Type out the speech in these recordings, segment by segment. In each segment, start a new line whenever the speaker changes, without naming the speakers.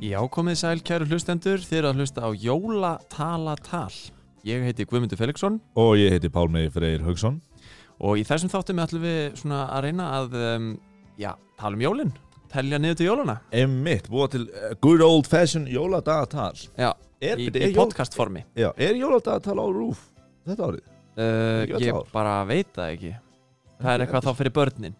Já, komið sæl, kæru hlustendur, þið eru að hlusta á Jólatalatal. Ég heiti Guðmundur Felixson
Og ég heiti Pálmi Freyr Haugsson
og í þessum þáttum ætlum við svona að reyna að, um, já, tala um jólinn, telja niður til jólana.
Emmitt, búa til eh, good old fashion jóladagatal
Já,
Er,
í,
byrju,
í
er, jól,
podcastformi.
já, er jóladagatal á rúf þetta árið?
Uh,
Ekki öll
ég
ár.
bara veit það ekki. Það er eitthvað þá fyrir börnin,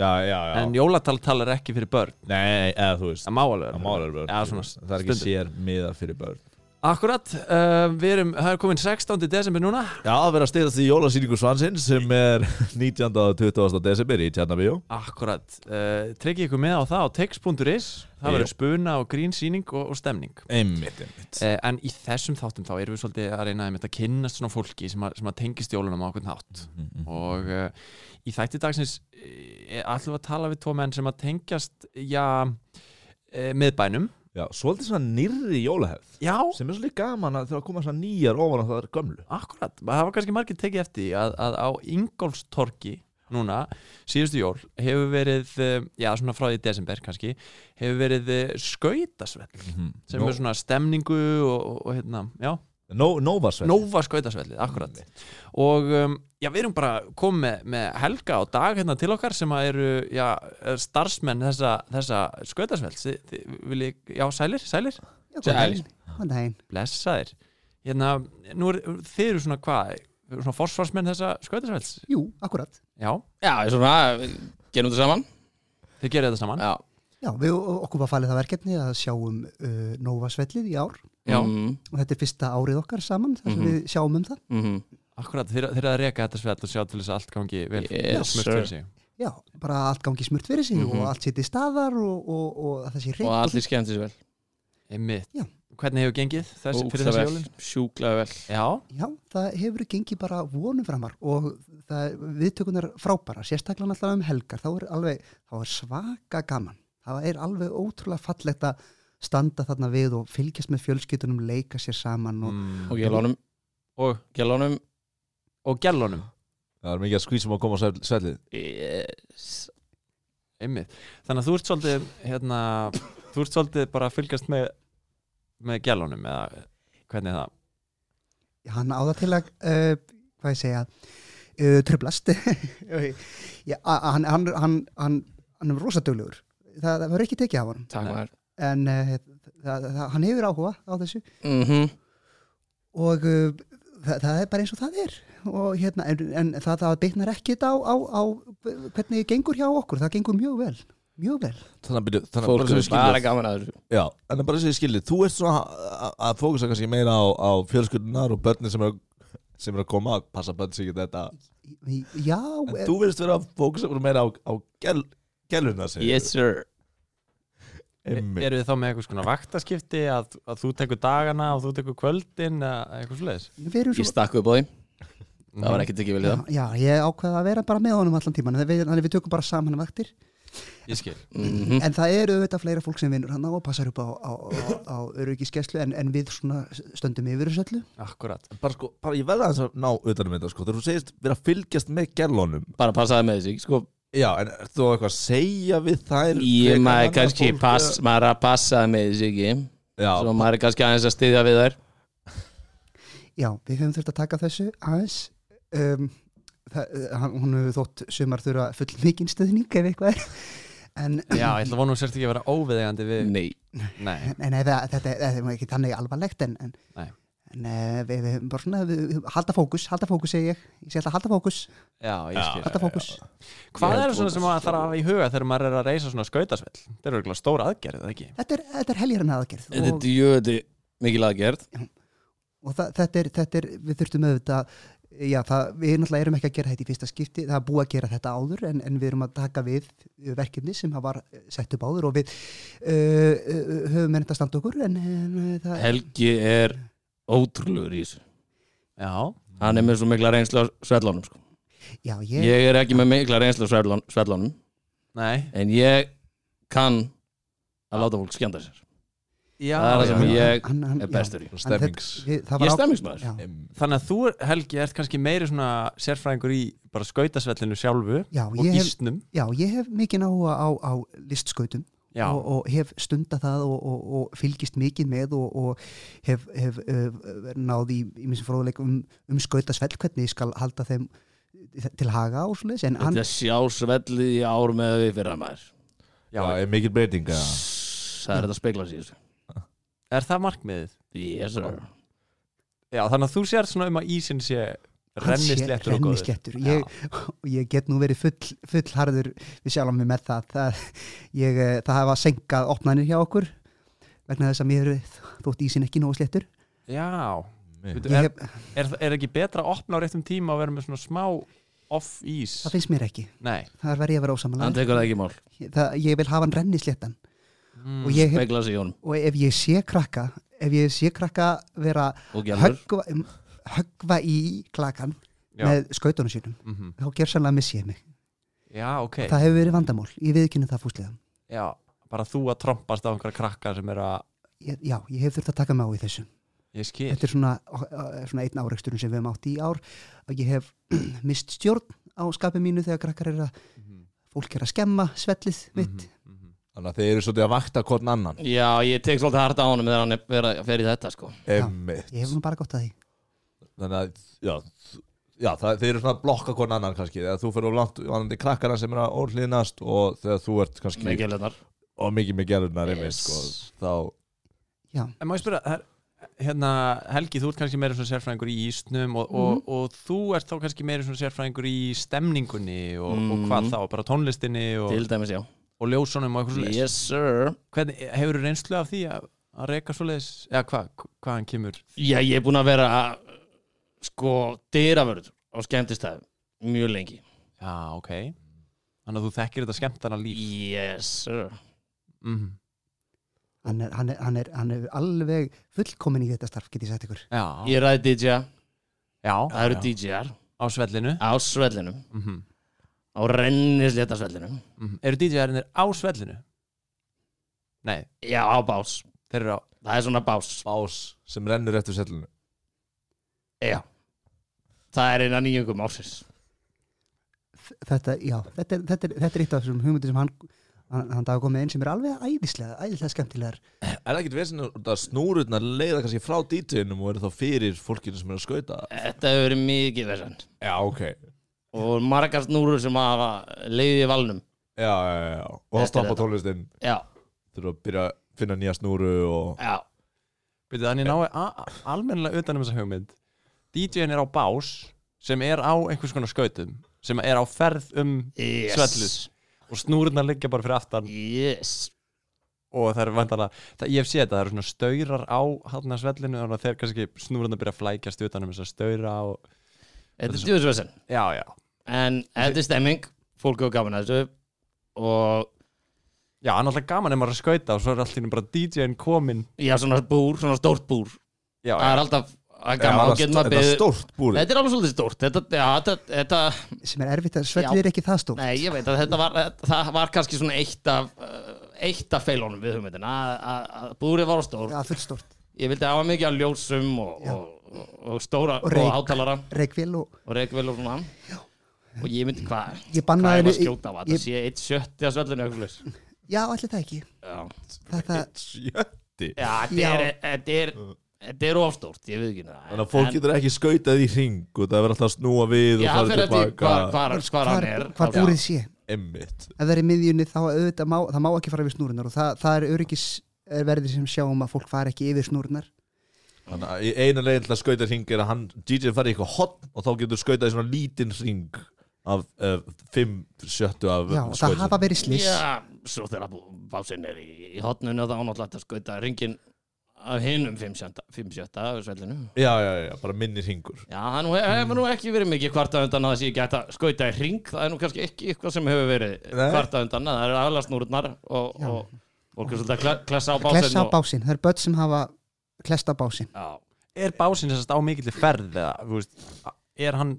Já, já, já
en jólatalatal er ekki fyrir börn.
Nei, eða þú veist
Það má alveg. vera
Það
fyrir
má alveg börn
Já, svona
Það er ekki
stundum.
sér miða fyrir börn
Akkurat, uh, við erum, það er komin 16. desember núna.
Já, að vera að styrast í jólasýningu Svansinn sem er 19. og 20. desember í Tjarnabíó
Akkurat, uh, tryggja ykkur með á það á text.is, það
Jú.
verður spuna og grín síning og, og stemning
Emmitt, emmitt
uh, En í þessum þáttum þá erum við svolítið að reyna einmitt að kynnast svona fólki sem að, sem að tengist jólunum á okkur nátt
Mm,
og uh, í þætti dagsins uh, ætlum við að tala við tvo menn sem að tengjast, já, uh, miðbænum
Já, svolítið svona nýrri jólahefð
Já,
sem er svolítið gaman að þegar að koma svona nýjar ofan á það er gömlu
akkurat, það var kannski margir tekið eftir því að, að á Ingolstorki núna, síðustu jól hefur verið, uh, já svona frá því í desember kannski, hefur verið uh, skautasvell Mm-hmm.
Mm-hmm.
sem er svona stemningu og, og, og hérna, já,
Nóvasveld
Nova skautasvellið, akkurat og um, já, við erum bara komið með, með Helga og Dag hérna til okkar sem að eru, já, starfsmenn þessa, þessa skautasvells Þi- þið viljið, já, sælir, sælir
Já,
Sæl.
góðan daginn. Góðan daginn.
blessaðir, hérna nú er, þið eru svona hvað svona forsvarsmenn þessa skautasvells
Jú, akkurat.
já,
Já, svona, við gerum þetta saman
þið gerir þetta saman
Já,
Já, við okkur var falið það verkefni að sjáum uh, Nóvasvellið í ár
Já.
mm
og þetta er fyrsta árið okkar saman þar sem
Mhm.
við sjáum um það.
-hmm.
akkurat, þeir, þeir eru að reka þetta svell og sjá til þess að allt gangi vel
Yes,
smurt
sir.
fyrir sig.
Já, bara allt gangi smurt fyrir sig
Mhm.
og allt sitt í staðar og, og, og að það sé
og
reynd.
allir skemmtis vel
Einmitt.
Já.
hvernig hefur gengið þessi, fyrir
Ógeðslega
þessi
vel,
jólin
Sjúklega vel
já,
Já, það hefur gengið bara vonum framar og það, viðtökunar frábæra, sérstaklega náttúrulega um helgar, þá er alveg, þá er svaka gaman. Það er alveg ótrúlega fallegt að standa þarna við og fylgjast með fjölskyldunum, leika sér saman og
mm.
Og gælunum
og,
Gælunum
og gælunum
Það er mikið að skvísum að koma á svell- svellið
yes.
Einmitt. Þannig að þú ert svolítið hérna, þú ert svolítið bara að fylgjast með með gælunum eða hvernig er það
hann á það til að uh, hvað ég segja uh, trublast Já, a- hann, hann, hann, hann, hann er rosadöglegur það, það var ekki tekið af hann
Takk
Nei.
maður
en uh, það, það, hann hefur áhuga á þessu
mm
og uh, það, það er bara eins og það er og hérna, en, en það, það bitnar ekkit á, á, á hvernig gengur hjá okkur, það gengur mjög vel mjög vel
Þannig að byrja, þannig að
Fólk
bara sem
er
við skiljum
bara gaman að þessu
Já, en það bara sem ég skilji, þú ert svona að- að fókusa kannski meira á, á fjölskyldunar og börnin sem er, að- sem er að koma að passa börn sig í þetta
já,
En
eh,
þú verðist vera að fókusa bara meira á, á gel, geluna sem
Yes sir
E- Eru þið þá með eitthvað skona vaktaskipti að, að þú tekur dagana og þú tekur kvöldin eða eitthvað svoleiðis
eh, við erum
Ég
svo
stakk upp á því Það var ekki tekið vel í
já,
það
já, ég ákveða að vera bara með honum allan tíman þannig að við tökum bara saman vaktir
Ég skil
mm
En það eru auðvitað fleira fólk sem vinnur hann og passar upp á, á, á, á öryggiskeslu en, en við svona stöndum yfir þessu öllu.
Akkurat
Bara sko, bara ég verða þess að ná utanum þetta sko Þegar þú segist vera að fylgjast með gelunum
Bara passaði með þessu sko,
Já, en ert þú eitthvað að segja við þær
Ég
frekar
maður
annað
kannski
fólk,
pass,
eða-
Maður að passaði með þessu ekki Svo
Já,
maður er kannski aðeins að styðja við þær
Já, við höfum þurft að taka þessu aðeins. Um, það, hann, hún hefur þótt sumar þurfa full mikinn stöðning ef eitthvað er. En,
Já, ég ætla að vona hún sérst ekki að vera óviðegandi við
Nei
Nei,
en eða, þetta er- þetta er nú ekki þannig alvarlegt en, en,
Nei.
en eh, við, við höfum bara svona, við, við- halda fókus, halda fókus segi ég. Ég segi alltaf halda fókus,
já, ég
Já.
skil
halda fókus.
Hvað
Ég
er
held
svona
fókus.
sem maður þarf að hafa í huga þegar maður er að reysa svona skautasvell? Það eru eitthvað stóra aðgerð, eða ekki?
Þetta er, þetta er helgirinn aðgerð.
Þetta er djöðu mikil aðgerð
og það, þetta, er, þetta er, við þurftum auðvitað já, það, við náttúrulega erum ekki að gera þetta í fyrsta skipti, það er búið að gera þetta áður en, en við erum að taka við eh, verkefni sem hafa var eh, sett upp áður og við uh, uh, höfum ennast að standa okkur en, en uh, það
Helgi er ótrúlegur í þessu
Já,
hann er með svo mikla reynslu á svellunum sko.
já, ég,
ég er ekki með mikla reynslu á svellun- svellunum
nei
en ég kann að láta fólk skjönda sér
já,
Það er það sem
já.
ég-
hann, hann,
er bestur í
svona
hann-
Stemmings
já, við, það var
ég er
á,
stemmingsmaður
já,
Em,
Þannig að þú, Helgi, ert kannski meiri svona sérfræðingur í bara skautasvellinu sjálfu
já,
og
ég hef,
ísnum
já, ég hef mikið áhuga á, á listskautum
já,
og, og hef stunda það og, og, og fylgist mikið með og, og hef, hef uh, náði í, í minn sem fróðuleik um, um skautasvell hvernig ég skal halda þeim til haga og svoleiðis en hann,
Þetta sjá svellið í ár með við fyrir að maður
já,
er mikil breyting eða?
Það er þetta að spegla sér
er það markmiðið?
Yes sir
Já, þannig að þú sér svona um að ísinn sé
hann sé
rennisléttur og góður
rennisléttur ég, og ég get nú verið full, full harður við sjálfum mig með það það, ég, eh, það hafa senkað opnanir hjá okkur vegna þess að mér hefur þótt ísinn ekki nógu sléttur
Já, Veitu,
Ég
er,
hef,
er, er ekki betra að opna á réttum tíma og vera með svona smá off ís?
það finnst mér ekki
Nei
það er verið að vera
Hann
ósamanlega
tekur það ekki í mál
ég vil hafa hann rennisléttan
mm.
og, ég hef,
Spegla sér í honum
og ef ég sé krakka ef ég sé krakka vera
Og gælur
höggva, höggva í klakan
Já.
með skautunum sínum
Mhm.
þá gerðsannlega missi ég mig
Já, ok
það hefur verið vandamál, ég viðkynna það fúslega
Já, bara þú að trompast á einhverja krakka sem er að
ég, já, ég hef þurft að taka mig á í þessu
Ég skil
þetta er svona, eh, svona einn áreiksturinn sem við höfum átt í ár að ég hef mist stjórn á skapið mínu þegar krakkar er að
Mhm.
fólk er að skemma svellið mitt
Mhm, mhm.
Þannig að þeir eru svolítið að vakta hvort annan
Já, ég tek svolítið harta á honum þegar hann er- fer að- fer í þetta sko
Einmitt.
ég hef nú bara gott að því
Þannig að já, þ- já, það, þeir eru svona að blokka hvort annan kannski Þegar þú fyrir of langt vanandi krakkana sem eru að orðlýðnast og þegar þú ert kannski
Með gælunar
og mikið með gerðunar einmitt
Yes.
sko, þá
já,
En má ég spyrja, það er, hérna, Helgi, þú ert kannski meira svona sérfræðingur í ísnum og,
Mhm.
og, og þú ert þá kannski meira svona sérfræðingur í stemningunni og, og hvað
Mhm.
þá, bara tónlistinni og,
Til dæmis já
og ljósunum og eitthvað svona
Yes sir
Hvernig, hefur þú reynslu af því að, að reyka svoleiðis, eða hvað, hvaðan kemur?
Já, ég er búin að vera sko dyravörður á skemmtistæðum mjög lengi
Já, ok. Þannig að þú þekkir þetta skemmtana líf.
Yes sir Mhm.
Mm.
hann er, hann, er, hann, er, hann er alveg fullkomin í þetta starf, get ég sagt ykkur
Já,
Ég ræði DJ-a,
já,
það eru DJ-ar
á svellinu.
á svellinum,
Mm -hmm.
á rennislétta svellinum
mhm. Eru DJ-arinnir á svellinu? Nei,
Já, á bás,
þeir eru á...
það er svona bás
bás sem rennur eftir sellinu
Já Það er eina nýjungum ásins
þetta, já, þetta, er- þetta, er, þetta er eitt af þessum hugmyndum sem hann, hann, hann dagur komið einn sem er alveg æðislega, æðislega skemmtilegar
Er það ekkert vesinn að snúrurnar leiða kannski frá dítinum og eru þá fyrir fólkinu sem eru að skauta?
Þetta hefur verið mikið þessan
Já, ok Já,
og margar snúrur sem hafa leiðið í valnum
já, já, já. Og
Þetta
þá
er
stoppa
þetta.
tónlistin
Já,
Þurfa að byrja að finna nýja snúru og
já,
Veitu, þannig náu almennilega utanum þessa hugmynd. DJ-in er á bás sem er á einhvers konar skautum, sem er á ferð um
yes
Svellið. og snúrurnar liggja bara fyrir aftan
Yes
og það er vandala, það, ég hef séð þetta, það eru svona staurar á hann að svellinu þannig að þeir kannski snúruna byrja að flækjast utan um þess að staura og,
Þetta er djúðsvesen
já, já,
En þetta er stemming, fólk hefur gaman að þessu og
já, hann er alltaf gaman ef maður er að skauta og svo er alltaf bara DJ-in komin
já, svona búr, svona stórt búr
já,
Það
já,
er alltaf það er
Já,
gaman,
það
þá
st-
getur maður
Þetta er
beðið
stórt búrið
Þetta er alveg svolítið stórt Þetta, já, þetta, þetta
sem er erfitt að svellið er ekki það stór
Nei, ég veit að þetta var, það var kannski svona eitt af, uh, eitt af feilunum við hugmyndin að, að, að búrið var of stór
að full stórt,
Ég vildi hafa mikið af ljósum og,
Já.
og, og, og stóra
Og
og,
reyk.
átalara
reikvél og
og reykvel og svona og ég myndi hvað
Ég
hvað
bannaði
er að
henni-
skjóta á að
ég-
þetta sé eitt sjötti að svöllinu eitthvað laus
já, allir það ekki
Já,
þetta,
Sjötti
Já, þetta
Já.
er, þetta er Þetta er of stórt, ég veit ekki það
Þannig að fólk getur ekki skautað í hring og það verður alltaf að snúa við
Já,
og
það
fara
fyrir að því hvar,
tilbaka
hvar, hvar hann er
hvar
Já.
búrið sé
Emmitt
ef það er í miðjunni þá auðvitað má, það má ekki fara yfir snúrunar og það, það er öryggis er verðið sem sjáum að fólk fara ekki yfir snúrunar
Þannig að í eina leiðin til að skauta í hring er að hann DJ fari í eitthvað hotn og þá getur skautað í svona lítinn hring af uh, fimm sjöttu af
já, og það
skautum.
hafa verið sliss
Já, svo þegar bú- básinn er í, í hotnunni og þá náttúrulega að skauta ringin af hinum 5-7 af svellinu.
já, já, já, bara minni hringur
Já, það nú he- hefur
Mm.
nú ekki verið mikið kvarta undan að þessi geta skauta í ring, það er nú kannski ekki eitthvað sem hefur verið
Nei.
kvarta undan, það eru aðlega snúrnar og, og fólk er svolítið að kle- klessa á básinn
klessa á
og...
básinn, það er börn sem hafa klesta á básinn
Já,
er básinn þessast á mikilli ferð eða, þú veist, er hann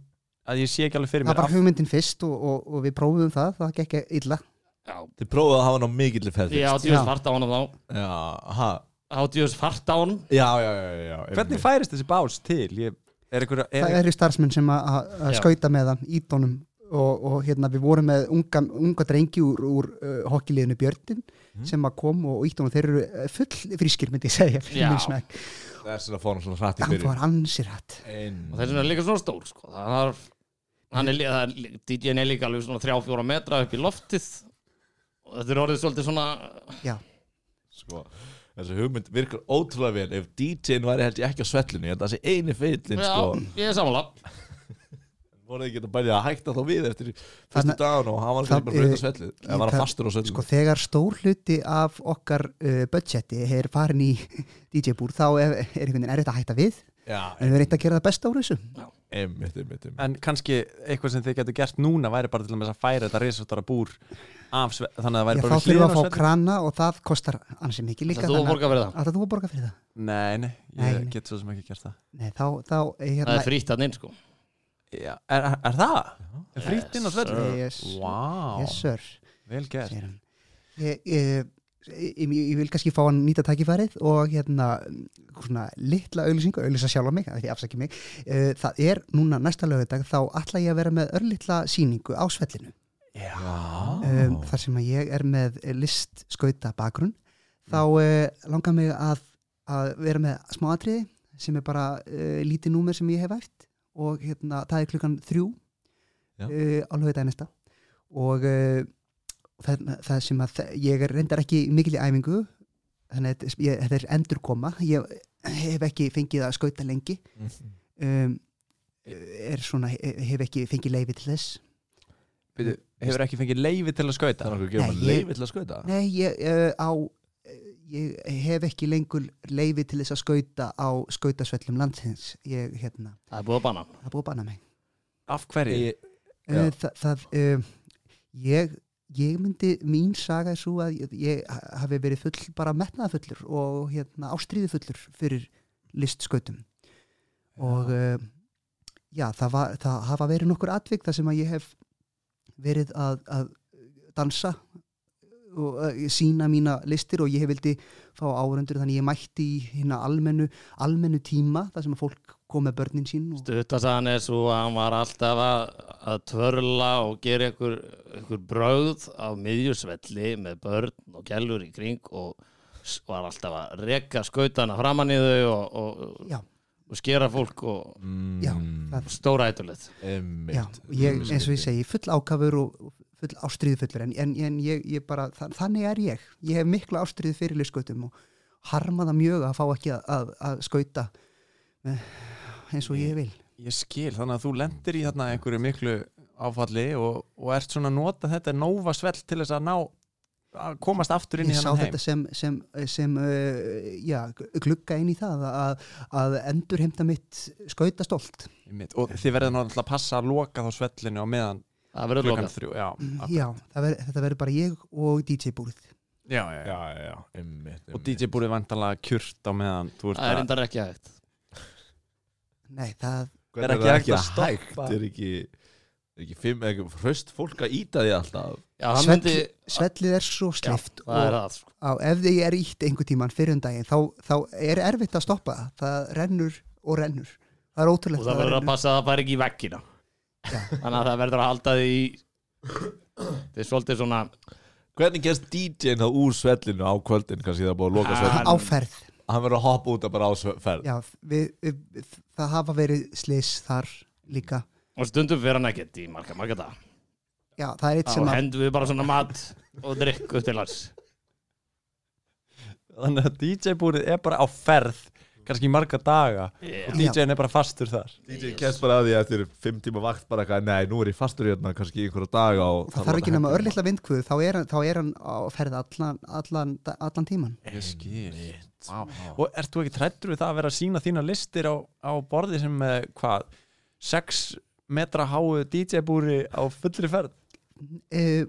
að ég sé ekki alveg fyrir
það
mér
var hugmyndin fyrst og, og, og við prófum það, það gekk illa
já,
Þið prófaðu að hafa hann á mikill ferð
ég
já.
áttjóðis
Já.
fart á honum þá,
Já, ha,
áttjóðis fart á honum,
já, já, já, já, já
af, hvernig færist þessi bás til ég, er einhverja,
það
er,
eru starfsmenn sem að- að að
Já.
skauta með það, ídónum og, og hérna við vorum með unga, unga drengi úr, úr uh, hokkiliðinu Björnin
Mhm.
sem að kom og ítt og þeir eru eh, full frískir myndi ég segja fyrir
Já.
minn smekk.
Það er svona að fá hann svona hratt í
hann
fyrir
fór ansir hatt
og þess vegna er líka svona stór sko. það er, hann er, lí- það er DJ-n er líka alveg svona 3-4 metra upp í loftið og þetta er orðið svolítið svona
já,
sko. Þessi hugmynd virkar ótrúlega vel Ef DJ-n væri held ég ekki á svellinu Ég held að þessi eini fyllin
já,
sko.
ég er samanlega
Voru þið geta bæðið að hækta þá við Eftir fyrstu
Þannig-
dagan og hann var kannski
Það-
bara
eh,
hrauta svellið Eða var
líka-
hann fastur á svellinu
sko þegar stór hluti af okkar uh, budgeti er farin í DJ-búr þá er, er einhvern veginn erfitt að hætta við
Já,
en við erum reynd að gera það besta úr þessu
einmitt, einmitt, einmitt.
en kannski eitthvað sem þið getur gert núna væri bara til dæmis að færa þetta risastóra búr af, sve- þannig að það væri
Já,
bara
þá
við
þurfum
hliðina á
að fá
svellinu.
krana og það kostar ansi mikið líka
Ætlar þú að
þannig
borga fyrir það?
Ætlar þú að borga fyrir það?
Nei, nei, ég
Nei, nei.
get svo sem ekki gert það
Nei, þá, þá eh,
það
hérna,
er frítt hann inn sko.
Já, er, er, er það? Er frítt inn á svellinu?
sir. Yes.
Vá,
yes sir,
vel gert
segir hann ég, ég, ég, ég vil kannski fá hann nýta tækifærið og hérna svona litla auðlýsingu, auðlýsa sjálf á mig af því afsaki mig, Eh, það er núna næsta lögudag þá ætla ég að vera með örlitla síningu á svellinu
Já
um, þar sem að ég er með list skauta bakgrunn þá uh, langar mig að, að vera með smáatriði sem er bara uh, lítið númer sem ég hef æft og hérna, það er klukkan þrjú
Já.
uh, á lögudaginn næsta og uh, það, það sem að þe- ég er reyndar ekki í mikilli æfingu þannig að þetta- ég- þetta er endurkoma ég hef ekki fengið að skauta lengi
Mhm.
um, er svona, hef ekki fengið leifi til þess
Byrju, Hefur ekki fengið leifi til að skauta?
Þannig að við
Nei,
gefum hann
ég-
leifið til að skauta
Nei, ég, uh, á, eh, ég hef ekki lengur leifi til þess að skauta á skautasvellum landsins. Ég, hérna,
það er búið að banna hann.
það er búið að banna mig.
Af hverju?
Ég-
Uh,
Já.
það, það uh, ég, ég myndi, mín saga er svo að ég, ég ha- hafi verið full, bara metnaðafullur og hérna, ástríðufullur fyrir listskautum. Og uh, já, það, var, það hafa verið nokkur atvik þar sem að ég hef verið að, að dansa og uh, sína mína listir og ég vildi fá áhörendur þannig ég mætti í hérna almennu, almennu tíma þar sem að fólk kom með börnin sín og,
Stuttasagan er svo að hann var alltaf að, að tvörla og gera einhver, einhver bröð á miðjusvelli með börn og gælur í kring og s- var alltaf að reka skautana framann í þau og, og,
já,
og skera fólk og
já,
Mm,
það,
stóra eitthulegt
einmitt.
já, ég, eins og
Skrítið.
ég segi full ákafur og og full ástríðufullur en, en, en ég, ég bara, þa- þannig er ég ég hef mikla ástríðu fyrir listskautum og harma það mjög að fá ekki að, að, að skauta eh, eins og ég vil
Ég skil, þannig að þú lendir í þarna einhverju miklu áfalli og, og ert svona að nota þetta nóva svell til þess að ná að komast aftur inn í
ég sá
hennan heim
þetta sem, sem, sem uh, já, glugga inn í það að, að endurheimta mitt skauta stolt
Einmitt. og þið verður náttúrulega að passa að loka þá svellinu á meðan
það verður
klukkan
lokað
þrjú já, ak-
já, það ver, þetta verður bara ég og DJ búrið
já, já, já.
Já, já, já, einmitt,
og
einmitt.
DJ búið vantanlega kjurt á meðan þú ert
það er
að
reyndar ekki hægt
nei, það,
Er
Hvernig
ekki
er
hægt
ekki
að
hægt
stoppa?
Það er ekki er ekki fimm, ekki hraust fólk að íta því alltaf
já, hann
svell,
myndi,
svellið er svo sleift
það
og
er það sko.
á, ef þið er ítt einhver tíman fyrir um daginn þá, þá er erfitt að stoppa það. það rennur og rennur það er
og
ótrúlegt
það verður að
rennur.
passa að það fær ekki í veggina þannig að það verður að halda því í þetta er svolítið svona
Hvernig gerst DJ-n það úr svellinu á kvöldin kannski það er búið að loka
Ah.
svellinu
á ferð
Hann verður að hoppa út að bara á sve- ferð
já, við, við, við, það hafa verið slis þar líka
og stundum fyrir hann ekkert í marga marga dag
já, það er eitt
þá
sem að
hendum við bara svona mat og drikk upp til hans
þannig að DJ búið er bara á ferð kannski í marga daga og
yeah.
DJ-n er bara fastur þar
DJ kemst bara að því eftir fimm tíma vakt bara eitthvað Nei, nú er ég fastur hérna kannski í einhverja daga og
það þarf ekki nema
örli
örlitla vindkvöð þá er, þá er hann á ferð allan, allan, allan tíman
ég skil Vá. og ert þú ekki trættur við það að vera að sína þína listir á, á borði sem með hvað 6 metra háu DJ búri á fullri ferð
uh,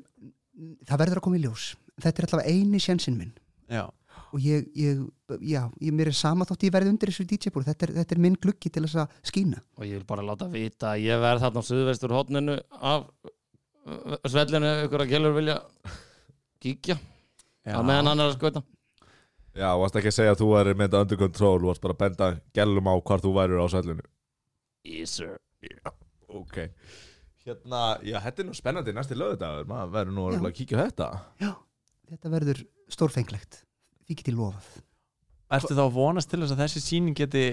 það verður að koma í ljós þetta er allavega eini sjensinn minn
já,
og ég, ég, já, ég mér er sama þótt ég verði undir þessu DJ-búr þetta, er- þetta er minn gluggi til þess að skína
og ég vil bara láta vita að ég verð þarna á suðvestur hótninu af uh, svellinu ef ykkur að gælur vilja kíkja
já.
að meðan hann er að skauta
Já, þú varst ekki að segja að þú væri með þetta under control Þú varst bara að benda gælum á hvar þú værið á svellinu
yes sir
Ok Hérna, já, þetta er nú spennandi næsti lögðardagur, maður verður nú örugglega að kíkja á þetta
Já, þetta verður stórfenglegt Því get ég lofað
Ertu þá að vonast til þess að þessi síning geti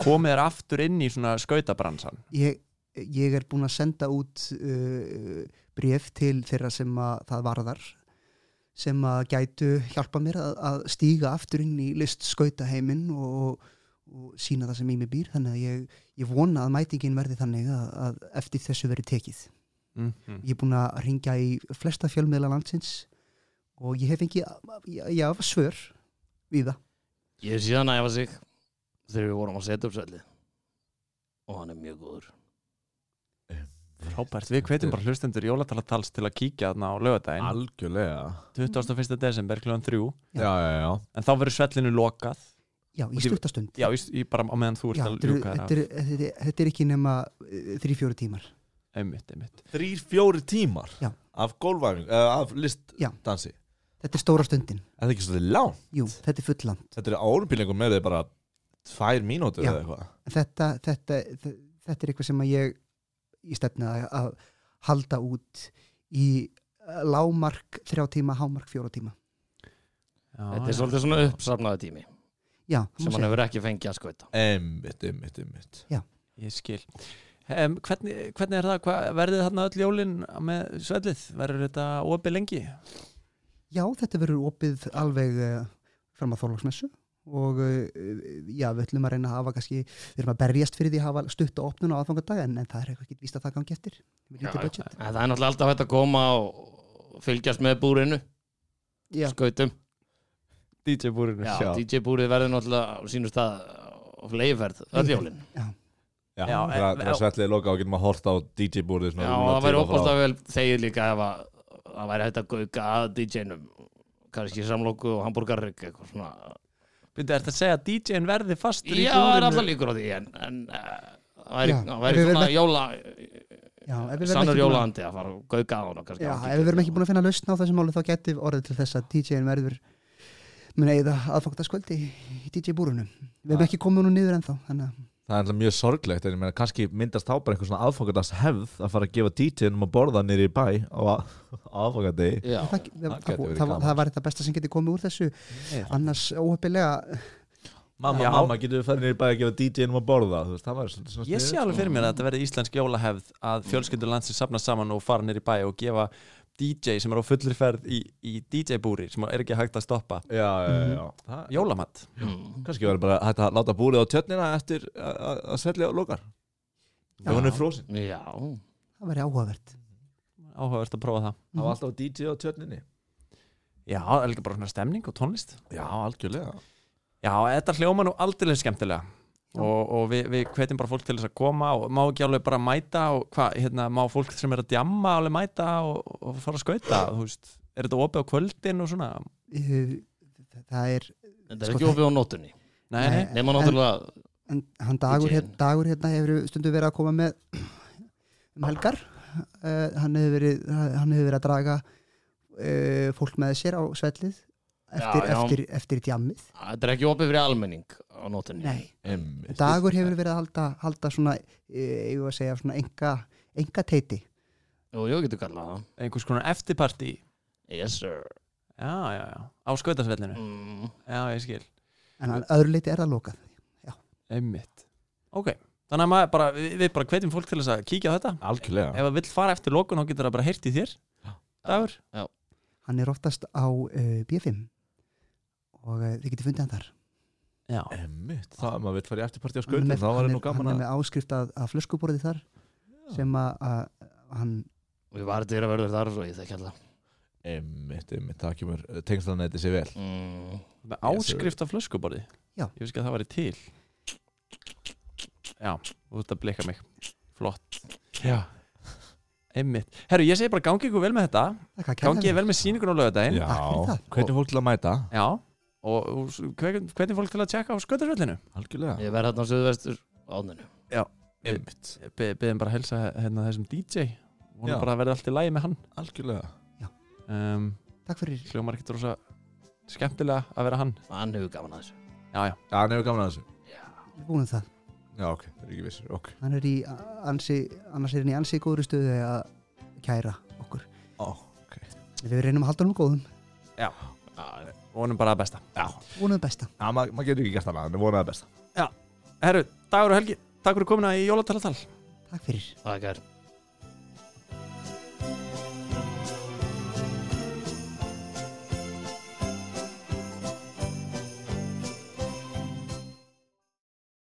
komið þér aftur inn í svona skautabransan?
ég, ég er búin að senda út uh, bref til þeirra sem að það varðar sem að gætu hjálpa mér að, að stíga aftur inn í list skautaheimin og, og sína það sem í mig býr þannig að ég, ég vona að mætingin verði þannig að, að eftir þessu verði tekið
Mm
ég er búin að ringja í flesta fjölmiðla landsins og ég hef fengið já, já, svör við það
Ég hef síðan æfa sig þegar við vorum að setja upp svelli og hann er mjög góður
Róbert, við hvetjum bara hlustendur jólatalatals til að kíkja þarna á lögadaginn
Algjörlega
21. desember kl. 3
Já, já, já
en þá verður svellinu lokað
já,
Og
í
þið-
stuttastund
já, í, í, bara á meðan þú ert
Já,
að
þetta eru-
ljúka
þetta
þér af
eru- þetta er- þetta er ekki nema þrý-fjóru tímar
einmitt, einmitt.
Þrýr, fjóri tímar
Já.
af gólvæfing, uh, af listdansi Er
þetta er stóra stundin
það ekki svolítið lán?
Jú, þetta er fulland.
Þetta er á olimpílingum með þið bara tvær mínútur
Já.
eða eitthvað
Þetta, þetta, þe- þetta er eitthvað sem að ég í stefna að- að halda út í eh, lágmark þrjá tíma, hámark fjóra tíma.
Já,
Þetta
já.
er svolítið svona uppsafnaði tími
Já, það
sem
má
hann
segja.
hefur ekki fengið að skauta
Einmitt, einmitt, einmitt
ég skil um, hvernig, hvernig er það, hva, verðið þarna öll jólin með svellið, verður þetta opið lengi?
já, þetta verður opið alveg eh, fram að þorlóksmessu og eh, já, við ætlum að reyna að hafa kannski, við erum að berjast fyrir því að hafa stutta opnun á aðfangadag en, en það er eitthvað ekki víst að það gangi eftir. Við
Já,
getum budget.
En það er náttúrulega alltaf hægt að koma og fylgjast með búrinu
Já.
skautum
DJ búrinu
Já,
já.
Já.
DJ búrið verður náttúrulega á sínum stað á fleiðferð,
Mm.
öll jólin
Já,
Já,
það
en-
það er svellið loka og getum að horta á DJ-búrið
Já, og það væri opast að vel þegið líka ef að það væri hægt að gauka að DJ-num kannski samlóku og hambúrgarrygg eitthvað svona
Byrðu, ert að segja að DJ-in verði fastur í
Já, það er
búrinu?
alltaf líkur á því en, en eh, það væri,
Já,
það
ef
væri
við
svona
verðum-
jóla
Já, ef við verðum ekki
sannur
búin að-
jólandi að fara og gauka að honum kannski
Já,
á
ef
DJ.
við verðum ekki búin að finna lausn á þessu máli þá geti orðið til þess að DJ-in verður mun eigða aðfangtaskvöldi í DJ-búrunum. Við hefum ekki komið nú niður ennþá, þannig að
Það er alltaf mjög sorglegt en ég meina kannski myndast þá bara eitthvað svona aðfókandans hefð að fara að gefa DJ-num að borða nýri í bæ á aðfókandi
Já,
það, það,
gæti
það,
verið
það,
gaman.
það var þetta besta sem geti komið úr þessu. Annars óhefilega,
Mamma,
Já.
mamma, getur við farið nýri í bæ að gefa DJ-num að borða Þú veist, það var svona, svona
Ég sé
sniðugt.
alveg fyrir mér að þetta verði íslensk jólahefð að fjölskyldur landsins safna saman og fara nýr í bæ og gefa DJ sem er á fullri ferð í, í DJ-búri sem er ekki hægt að stoppa
Já, já,
Mhm.
já, já. Það,
jólamatt
Mm.
Kannski verður bara hægt að láta búrið á tjörnina eftir að- að að svellið lokar
Já.
Og hún er frósin
já
það væri áhugavert.
áhugavert að prófa það
Það
Mhm.
var alltaf DJ á tjörninni
Já, það er líka bara svona stemning og tónlist
Já, algjörlega
Já, þetta hljóma nú aldrei skemmtilega og, og við, við hvetjum bara fólk til þess að koma og má ekki alveg bara mæta og hvað, hérna, má fólk sem er að djamma alveg mæta og, og fara að skauta þú veist, er þetta opið á kvöldin og svona
Uh, Það er,
Þetta er
Sko,
ekki
það-
ofið á nótunni
Nei, nei,
Nei.
Nefna náttúrulega,
en hann dagur, hér,
DJ-in.
dagur hérna hefur stundum verið að koma með um helgar. Uh, Hann hefur verið, hann hefur verið að draga uh, fólk með sér á svellið eftir,
Já, já.
eftir, eftir djammið.
þetta er ekki opið fyrir almenning á nótunni
Nei.
Einmitt.
dagur hefur verið að halda, halda svona, eh, eigum við að segja, svona enga, enga teiti.
Jú, jú, getur kallað það
einhvers konar eftirparti
Yes sir
Já, já, já, á skautasvellinu
mm.
Já, ég skil
En að öðru leiti er það lokað.
Einmitt Ok, þannig að maður bara, við, við bara hvetjum fólk til þess að kíkja á þetta
Algjörlega
Ef það vill fara eftir lokun, þá getur það bara heyrt í þér Dagur
Hann er oftast á uh, B5 og uh, þið getið fundið hann þar.
Já,
Emmitt, það maður vill fara í eftirparti á
Hann
skautum,
er með-
þá var
hann
ég nú
er-
gaman
Hann er
að
með áskrift að, að flöskuborði þar sem að, að hann,
Við varum dyr að verður þar og ég þekki alltaf
Emmitt, emmitt, það kemur tengslanetti sér vel
mm.
með áskrift af flöskuborði
Já.
Ég veist ekki að það væri til Já, þú ert að blika mig Flott
Já,
Einmitt Herru, ég segi bara gangi ykkur vel með þetta
þakka kærlega
Gangi
fyrir.
ykkur vel með síningun á lögadaginn
Já.
Takk
hvernig
fyrir það.
er fólk til að mæta?
Já Og og s- hve- hvernig fólk til að tjekka á skautasvellinu
Algjörlega
Ég verð þarna á söðvestur áninu
Emmitt,
Be Beðum bara að helsa hérna, þessum DJ Hún
Já.
bara að verða allt í lagi með hann
algjörlega
um,
Takk fyrir.
Hljómar ekkert rosa skemmtilega að vera hann
Hann hefur gaman að þessu
Já, já
Já, hann hefur gaman að þessu
Við búum það.
Já, Já, ok, það er ekki vissir, ok
hann er í a- ansi, annars er hann í ansi góðri stöðu að kæra okkur
Ó, ok
við reynum að halda hann um góðum
vonum bara að besta
Já,
vonum það besta
ja, maður ma getur ekki gert annað, en við vonaði besta
Herru, Dagur og Helgi, takk fyrir komina í Jólatalatal
takk fyrir
Það er gært